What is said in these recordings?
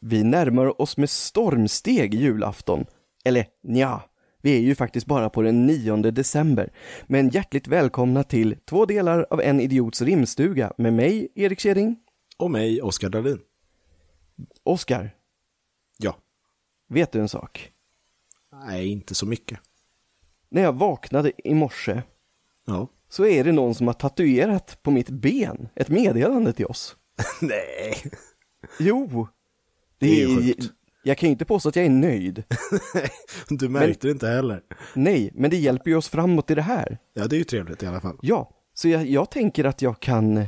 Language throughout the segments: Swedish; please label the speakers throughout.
Speaker 1: Vi närmar oss med stormsteg julafton. Eller nja, vi är ju faktiskt bara på den 9 december. Men hjärtligt välkomna till två delar av En Idiots Rimstuga med mig, Erik Kjering.
Speaker 2: Och mig, Oskar Dahlin.
Speaker 1: Oskar,
Speaker 2: Ja.
Speaker 1: vet du en sak?
Speaker 2: Nej, inte så mycket.
Speaker 1: När jag vaknade i morse
Speaker 2: Ja.
Speaker 1: så är det någon som har tatuerat på mitt ben ett meddelande till oss.
Speaker 2: Nej.
Speaker 1: Jo!
Speaker 2: Det är ju sjukt.
Speaker 1: Jag kan ju inte påstå att jag är nöjd.
Speaker 2: Du märkte det inte heller.
Speaker 1: Nej, men det hjälper ju oss framåt i det här.
Speaker 2: Ja, det är ju trevligt i alla fall.
Speaker 1: Ja, så jag, jag tänker att jag kan eh,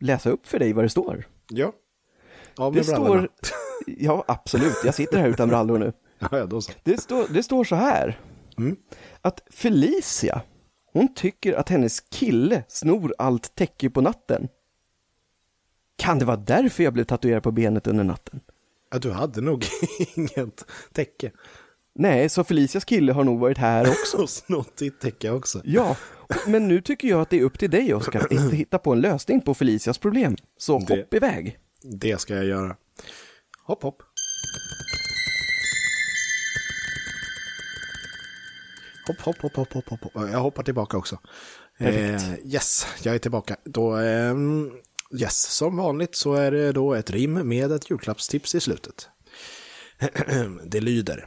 Speaker 1: läsa upp för dig vad det står.
Speaker 2: Ja. Av
Speaker 1: Det
Speaker 2: med brallorna.
Speaker 1: står... Ja, absolut. Jag sitter här utan brallor nu.
Speaker 2: Ja, ja, då så.
Speaker 1: Det står, det står så här.
Speaker 2: Mm.
Speaker 1: Att Felicia, hon tycker att hennes kille snor allt täcke på natten. Kan det vara därför jag blev tatuerad på benet under natten?
Speaker 2: Ja, du hade nog inget täcke.
Speaker 1: Nej, så Felicias kille har nog varit här också.
Speaker 2: Och snott ditt täcke också.
Speaker 1: Ja, men nu tycker jag att det är upp till dig, Oskar, att hitta på en lösning på Felicias problem. Så
Speaker 2: Det-
Speaker 1: hopp iväg.
Speaker 2: Det ska jag göra. Hopp, hopp. Hopp, hopp, hopp, hopp, hopp, hopp, hopp. Jag hoppar tillbaka också. Eh, yes, jag är tillbaka. Då, ehm, yes, som vanligt så är det då ett rim med ett julklappstips i slutet. det lyder.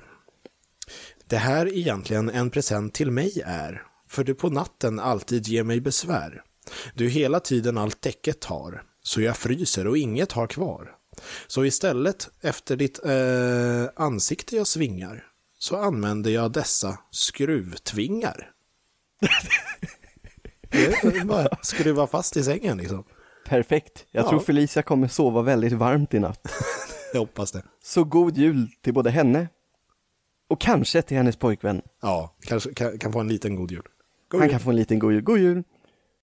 Speaker 2: Det här egentligen en present till mig är, för du på natten alltid ger mig besvär. Du hela tiden allt täcket tar, så jag fryser och inget har kvar. Så istället, efter ditt eh, ansikte jag svingar, så använder jag dessa skruvtvingar. Det är bara att skruva fast i sängen liksom.
Speaker 1: Perfekt. Jag
Speaker 2: Ja.
Speaker 1: tror Felicia kommer sova väldigt varmt i natt.
Speaker 2: Jag hoppas det.
Speaker 1: Så god jul till både henne och kanske till hennes pojkvän.
Speaker 2: Ja, kanske kan, kan få en liten god jul. God
Speaker 1: Han
Speaker 2: jul.
Speaker 1: kan få en liten god jul. God jul!